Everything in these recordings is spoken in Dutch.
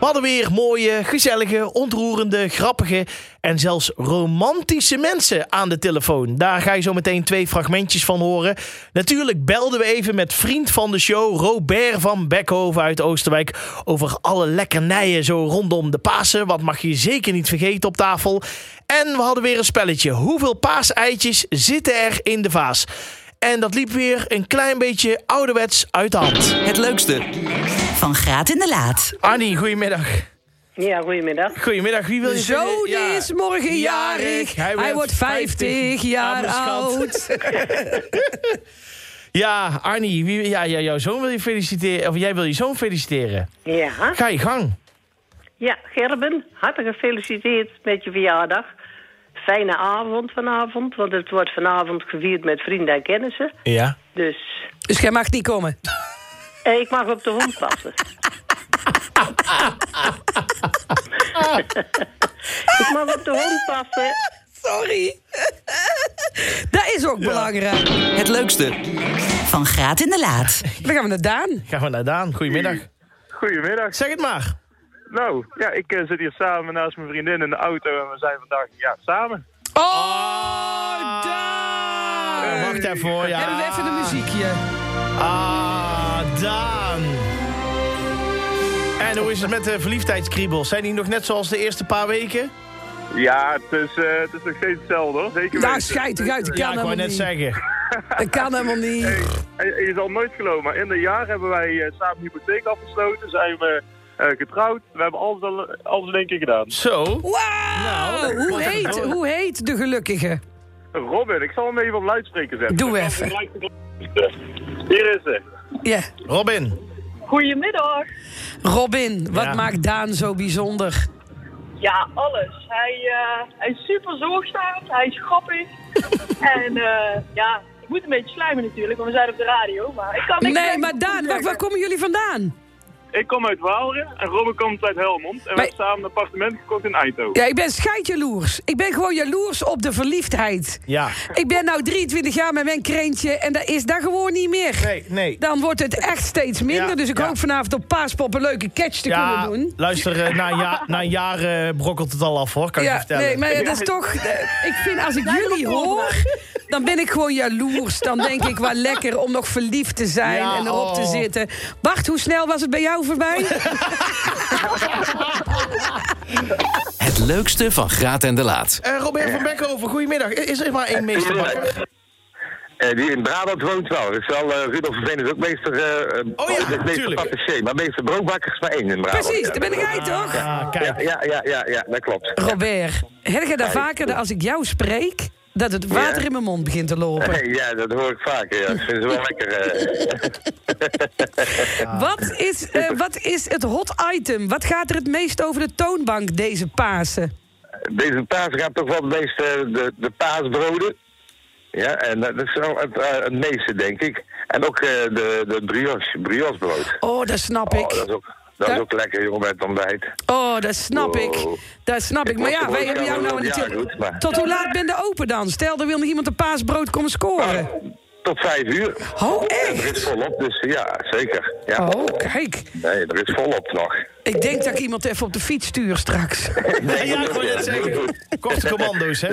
We hadden weer mooie, gezellige, ontroerende, grappige en zelfs romantische mensen aan de telefoon. Daar ga je zo meteen twee fragmentjes van horen. Natuurlijk belden we even met vriend van de show Robert van Bekhoven uit Oosterwijk over alle lekkernijen zo rondom de Pasen. Wat mag je zeker niet vergeten op tafel. En we hadden weer een spelletje. Hoeveel paaseitjes zitten er in de vaas? En dat liep weer een klein beetje ouderwets uit de hand. Het leukste, Van Graat in de Laat. Annie, goedemiddag. Ja, goedemiddag. Goedemiddag, wie wil je Mijn zoon zeggen? Ja. is morgen jarig. Hij, wordt 50 jaar Amerschout. oud. Ja, Arnie, wie, ja, ja, jouw zoon wil je feliciteren. Of jij wil je zoon feliciteren. Ja. Ga je gang. ja, Gerben, hartelijk gefeliciteerd met je verjaardag. Fijne avond vanavond, want het wordt vanavond gevierd met vrienden en kennissen. Ja. Dus Dus jij mag niet komen. eh, ik mag op de hond passen. ik mag op de hond passen. Sorry. Dat is ook belangrijk. het leukste, Van Graat in de Laat. Dan gaan we naar Daan. Gaan we naar Daan. Goedemiddag. Goedemiddag. Zeg het maar. Nou, ja, ik eh, zit hier samen naast mijn vriendin in de auto en we zijn vandaag ja, samen. Oh, Ah. Oh, Daan. wacht even hoor. Ja. Hebben we even een muziekje. Ah, Daan. En hoe is het met de verliefdheidskriebels? Zijn die nog net zoals de eerste paar weken? Ja, het is, eh, het is nog steeds hetzelfde hoor. Zeker Daar weten. schijt ik uit. Dat Ja, kan ik wou helemaal net niet. zeggen. Dat kan helemaal niet. En, en je zal nooit geloven, maar in een jaar hebben wij eh, samen een hypotheek afgesloten, zijn we eh, getrouwd. We hebben alles, al- alles in één keer gedaan. Zo. Nou, Wauw. Hoe heet, hoe heet de gelukkige? Robin, ik zal hem even op luidspreker zetten. Doe Dan kan even. ik gelijk de- Hier is ze. Ja. Robin. Goedemiddag. Robin, wat Ja. maakt Daan zo bijzonder? Ja, alles. Hij, eh, hij is super zorgzaam, hij is grappig. en eh, ja, ik moet een beetje slijmen natuurlijk, want we zijn op de radio. Maar ik kan niks Nee, zeggen. maar Daan, waar, waar komen jullie vandaan? Ik kom uit Waalre en Robin komt uit Helmond. En we Maar- hebben samen een appartement gekocht in Eindhoven. Ja, ik ben scheidjaloers. Ik ben gewoon jaloers op de verliefdheid. Ja. Ik ben nou 23 jaar met mijn krentje en dat is daar gewoon niet meer. Nee, nee. Dan wordt het echt steeds minder. Ja, dus ik ja. hoop vanavond op Paaspop een leuke catch te Ja, kunnen doen. luister, eh, na een jaar, na een jaar eh, brokkelt het al af hoor, kan ik je Ja, vertellen. nee, maar ja, dat is toch... eh, Ik vind, als ik jullie hoor, dan ben ik gewoon jaloers. Dan denk ik, wel lekker om nog verliefd te zijn Ja, en erop te oh. zitten. Wacht, hoe snel was het bij jou voorbij? het leukste van Graat en de Laat. Eh, Robert van Bekhoven, goedemiddag. Is er maar één meesterbakker? Eh, die in Brabant woont wel. Dus wel eh, Rudolf Verveen is ook meester. eh, eh, Oh ja, meester tuurlijk. patissier, maar meester broodbakker is maar één in Brabant. Precies, Ja, daar ben ik jij toch? Ah, kijk. Ja, ja, ja, ja, ja, dat klopt. Robert, heb je dat vaker dat als ik jou spreek... dat het water in mijn mond begint te lopen? Hey, ja, dat hoor ik vaker. Ja. Dat vinden ze wel lekker. eh. Wat is, eh, wat is het hot item? Wat gaat er het meest over de toonbank deze Pasen? Deze paas gaat toch wel het meest eh, de, de paasbroden. Ja, en eh, dat is wel het, eh, het meeste, denk ik. En ook eh, de, de brioche, brood. Oh, dat snap Oh, ik. dat is ook, dat is Ja. ook lekker, jongen, bij het ontbijt. Oh, dat snap ik. Wow. Dat snap ik. Maar ja, wij hebben jou nou in de Ja, tele- goed, maar- Tot hoe laat ben je open dan? Stel, er wil nog iemand een paasbrood komen scoren. Tot vijf uur. Oh, En er echt? is volop, dus ja, zeker. Ja. Oh, kijk. Nee, er is volop nog. Ik denk dat ik iemand even op de fiets stuur straks. Ja, ja, ik wou net zeggen. Korte commando's, hè?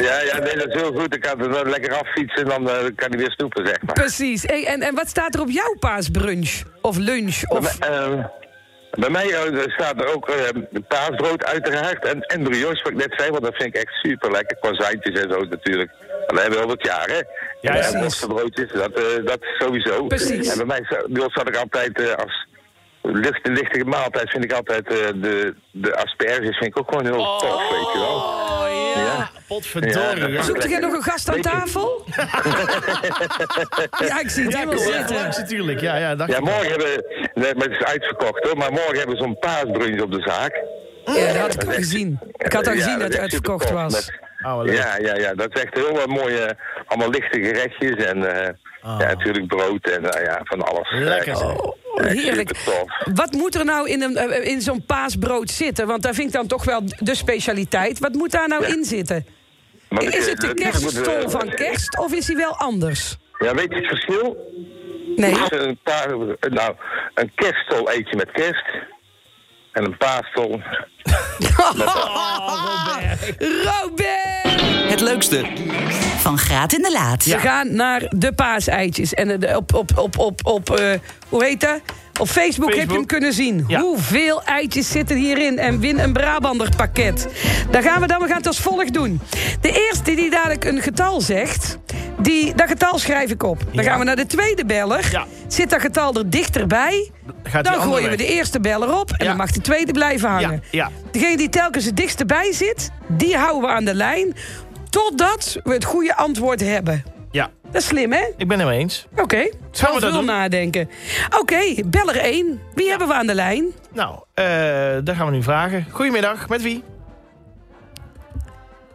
Ja, ja, nee, dat is heel goed. Ik kan het wel lekker affietsen en dan eh, kan hij weer snoepen, zeg maar. Precies. Hey, en, en wat staat er op jouw paasbrunch? Of lunch? Bij, Of... mij, eh, bij mij eh, staat er ook eh, paasbrood uiteraard en, en brioche, wat ik net zei, want dat vind ik echt super lekker. Croissantjes en zo natuurlijk. En dat hebben we al wat jaren. Ja, en, precies. eh, worstenbroodjes, dat, eh, dat sowieso. Precies. En bij mij sta- bij ons staat ik altijd eh, als licht, lichtige maaltijd vind ik altijd eh, de, de asperges vind ik ook gewoon heel tof, weet je wel. Oh, ja. Potverdorie. Ja. Ja. Zoekt er jij nog een gast aan tafel? ja, ik zie het helemaal zitten. Ja, natuurlijk. Ja, ja, dacht Ja, ik. morgen hebben we, nee, maar het is uitverkocht hoor, maar morgen hebben we zo'n paasbrunch op de zaak. Ja, dat Eh, had ik al gezien. Ik had al gezien dat het uitverkocht was. Oh, leuk. ja, ja, ja, dat is echt heel wat mooie, eh, allemaal lichte gerechtjes en eh, ja, natuurlijk brood en eh, ja, van alles. Ah. Eh, Lekker. Echt, Oh, echt Heerlijk. supertof. Wat moet er nou in, een, eh, in zo'n paasbrood zitten? Want daar vind ik dan toch wel de specialiteit. Wat moet daar nou in zitten? Maar eh, Is het de dat- dat moeten we- kerststol van kerst of is hij wel anders? Ja, weet je het verschil? Nee. Dus een paar, nou, een kerststol eet je met kerst. En een paastol. Robert! Het leukste. Van Graat in de Laat. We gaan naar de paaseitjes. En eh, de- op, op, op, op, op eh, hoe heet dat? Op Facebook, heb je hem kunnen zien. Ja. Hoeveel eitjes zitten hierin? En win een Brabander pakket. Daar gaan we dan. We gaan het als volgt doen. De eerste die dadelijk een getal zegt, die, dat getal schrijf ik op. Dan Ja. gaan we naar de tweede beller. Ja. Zit dat getal er dichterbij? Gaat die dan andere gooien we weg. de eerste beller op. En Ja. dan mag die tweede blijven hangen. Ja, ja. Degene die telkens het dichtst bij zit, die houden we aan de lijn. Totdat we het goede antwoord hebben. Ja, Dat is slim, hè? ik ben het mee eens. Oké. Gaan we dat doen? nadenken. Oké, beller 1. Wie hebben we aan de lijn? Nou, eh daar gaan we nu vragen. Goedemiddag, met wie?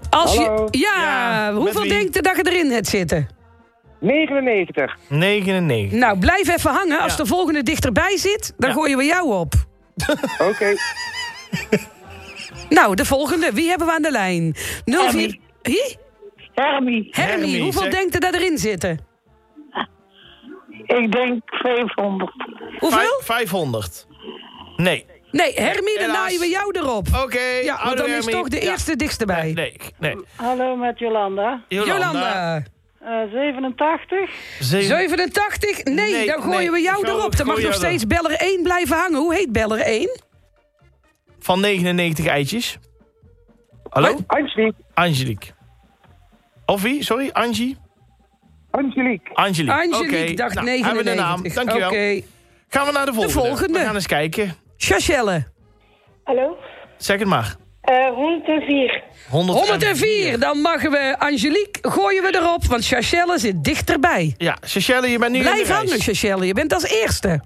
Als Je, ja, Ja, met hoeveel wie? denkt je dat je erin hebt zitten? 99. 99. Nou, blijf even hangen. Als Ja. de volgende dichterbij zit, dan gooien we jou op. Oké. Nou, de volgende. Wie hebben we aan de lijn? 04... Hermie. Wie? Hermie, Hermie. Hermie, Hoeveel zeg. denkt je dat erin zitten? ik denk 200. Hoeveel? Vijf- 500. Nee. Nee, Hermie, dan Helaas. naaien we jou erop. Oké, ja, want oude dan is Hermie. toch de Ja. eerste dichterbij. Nee, nee. Hallo met Jolanda. Eh, Eh, Jolanda, 87. Zeven- 87? Nee, Nee, dan gooien nee. we jou Gaan we- erop. Dan mag gooien nog we steeds beller 1 blijven hangen. Hoe heet beller 1? Van 99 eitjes. Hallo? Angelique. Angelique. Of wie? Sorry, Angie? Angelique. Angelique. Angelique, Oké, dacht nou, 99. Hebben we de naam. Dankjewel. Oké. Gaan we naar de volgende. volgende. We gaan eens kijken. Chachelle, Hallo? Zeg het maar. Eh, 104. 104. Dan mag we Angelique gooien we erop, want Chachelle zit dichterbij. Ja, Seychelle, je bent nu in Blijf de reis. hangen, Chachelle. Je bent als eerste.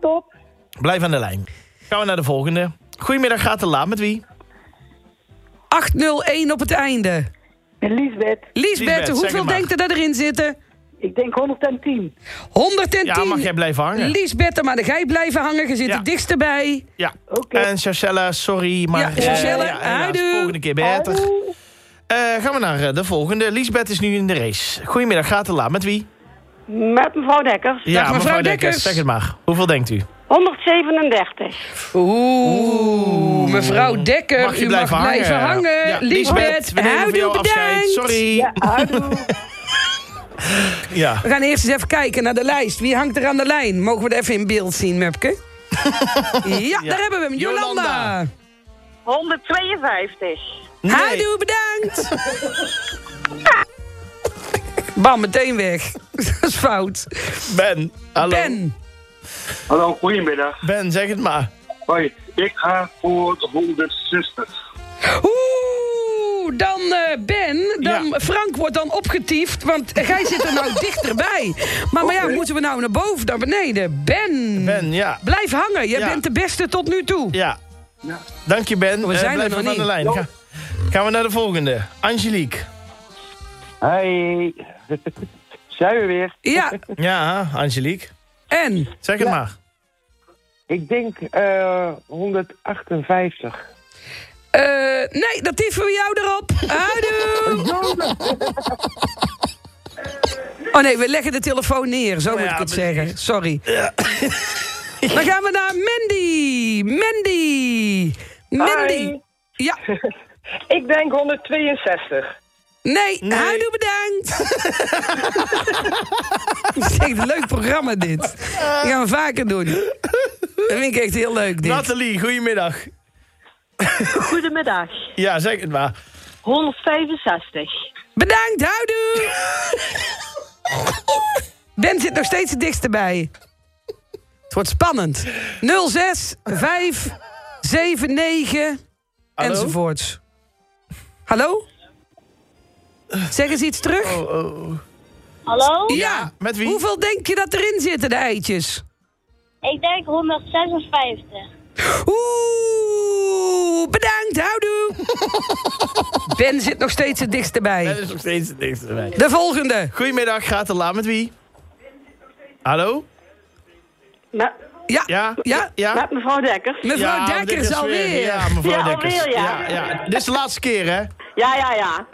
Top. Blijf aan de lijn. Gaan we naar de volgende. Goedemiddag, gaat de laat met wie? 801 op het einde. Met Lisbeth. Liesbeth, Lisbeth, zeg hoeveel het maar. denkt er dat erin zitten? Ik denk 110. 110. Ja, mag jij blijven hangen? Lisbeth, maar dan ga je blijven hangen. Je zit Ja. er dichterbij. ja. Oké. En Seychelle, sorry, maar... Ja, eh, Seychelle, helaas, houdoe. Volgende keer beter. Eh, gaan we naar eh, de volgende. Lisbeth is nu in de race. Goedemiddag, gaat de laat met wie? Met mevrouw Dekkers. Ja, mevrouw Dekkers. Zeg het maar. Hoeveel denkt u? 137. Oeh, mevrouw Dekker, Mag je u blijven mag hangen? blijven hangen. Ja, Lisbeth, we nemen van jou houdoe, bedankt. afscheid. Sorry. Ja. We gaan eerst eens even kijken naar de lijst. Wie hangt er aan de lijn? Mogen we er even in beeld zien, Mepke? ja, daar hebben we hem. Jolanda. Jolanda. 152. Nee. Houdoe, bedankt. Bam, meteen weg. Dat is fout. Ben. Hallo. Ben, Hallo, goedemiddag. Ben, zeg het maar. Hoi, ik ga voor 160. Oeh, dan eh, Ben. Dan, Ja. Frank wordt dan opgetiefd, want jij zit er nou dichterbij. Maar, maar ja, moeten we nou naar boven, naar beneden? Ben. Ben, ja. Blijf hangen, jij Ja. bent de beste tot nu toe. Ja. Dank je, Ben. Oh, We Eh, zijn er blijf nog even niet. aan de lijn. Ga- gaan we naar de volgende. Angelique. Hey. Zijn we weer? Ja, Ja, Angelique. en? Zeg het maar. Ik denk eh 158. Eh, nee, dat tiefen we jou erop. Houdoe! Oh nee, we leggen de telefoon neer, zo moet Nou ja, ik het maar- zeggen. Sorry. Dan gaan we naar Mandy. Mandy. Mandy. Hi. Ja, Ik denk 162. nee, houdoe bedankt. Het is echt een leuk programma dit. Dat gaan we vaker doen. Dat vind ik echt heel leuk dit. Nathalie, goedemiddag. Goedemiddag. Ja, zeg het maar. 165. Bedankt, houdoe! ben zit nog steeds het dichtst bij. Het wordt spannend. 06 5 7 9 Hallo? enzovoorts. Hallo? Zeg eens iets terug. Oh, Hallo? Ja. Met wie? Hoeveel denk je dat erin zitten, de eitjes? Ik denk 156. Oeh, bedankt, houdoe! ben zit nog steeds het dichtst Ben bij. is nog steeds het dichtste bij. De volgende. Goedemiddag, gaat de laat met wie? Hallo? Met, Ja, Ja? Ja? Ja? met mevrouw Dekkers. mevrouw Ja, Ja, Dekkers weer. alweer. Ja, mevrouw Ja, Dekkers. alweer, ja. ja. Dit is de laatste keer, hè? Ja, ja, ja.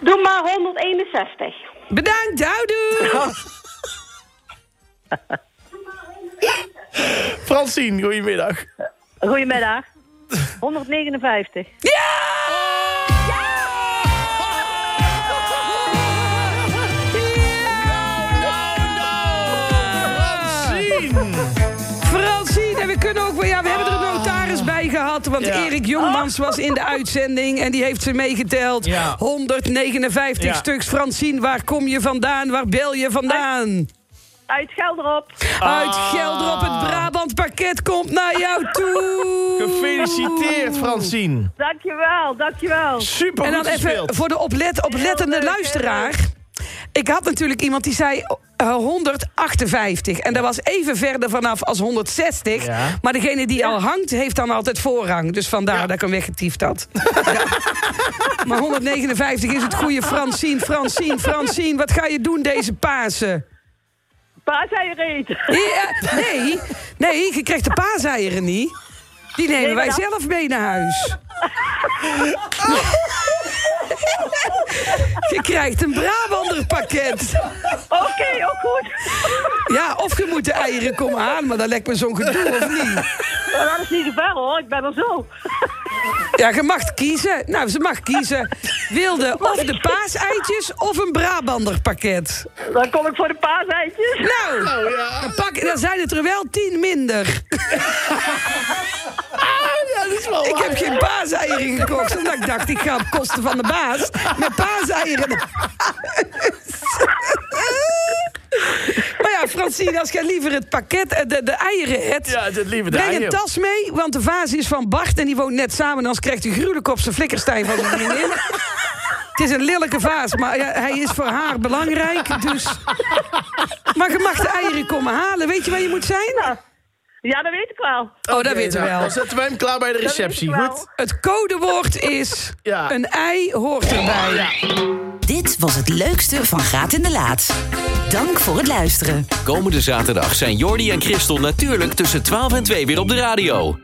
Doe maar 161. Bedankt, houdoe! Francine, goedemiddag. Goedemiddag. 159. Ja! Ah! Francine, en we kunnen ook wel- Ja, we hebben er een notaris bij gehad. Want Ja. Erik Jongmans was in de uitzending en die heeft ze meegeteld. Ja. 159 Ja. stuks. Francine, waar kom je vandaan? Waar bel je vandaan? Uit Gelderop. Uit Gelderop. Het Brabant pakket komt naar jou toe. Gefeliciteerd, Francine. Dankjewel, dankjewel. Super En dan even voor de oplet, oplettende luisteraar. Ik had natuurlijk iemand die zei eh, 158. En dat was even verder vanaf als 160. Ja. Maar degene die al hangt, heeft dan altijd voorrang. Dus vandaar dat ik hem weggetiefd had. maar 159 is het goede. Francine, Francine, Francine. Wat ga je doen deze Pasen? Paaseieren eten. Ja, eh, nee, nee, je krijgt de paaseieren niet. Die nemen Nee, wij maar dat- zelf mee naar huis. Je krijgt een Brabander pakket. Oké, ook goed. Ja, of je moet de eieren komen aan, maar dat lijkt me zo'n gedoe, of niet? Dat is niet zo ver hoor, ik ben er zo. Ja, je mag kiezen. Nou, ze mag kiezen. Wilde of de paaseitjes of een Brabander pakket. Dan kom ik voor de paaseitjes. Nou, Oh, dan, pak, dan zijn het er wel tien minder. Ah, Ik heb geen paaseieren gekocht, omdat ik dacht, ik ga op kosten van de baas met paaseieren. naar huis. Maar ja, Francine, als jij liever het pakket, eh, de, de eieren hebt... Ja, het liever de breng eieren. een tas mee, want de vaas is van Bart en die woont net samen. Anders krijgt hij gruwelijk op zijn flikkerstijn van zijn vriendin. Het is een lelijke vaas, maar ja, hij is voor haar belangrijk, dus... Maar je mag de eieren komen halen. Weet je waar je moet zijn? Ja, dat weet ik wel. Oh, dat weten we nou, wel. Dan zetten wij hem klaar bij de receptie. Goed. Het codewoord is... Ja. Een ei hoort erbij. Dit was het leukste van Graat in de Laat. Dank voor het luisteren. Komende zaterdag zijn Jordi en Christel natuurlijk tussen 12 en 2 weer op de radio.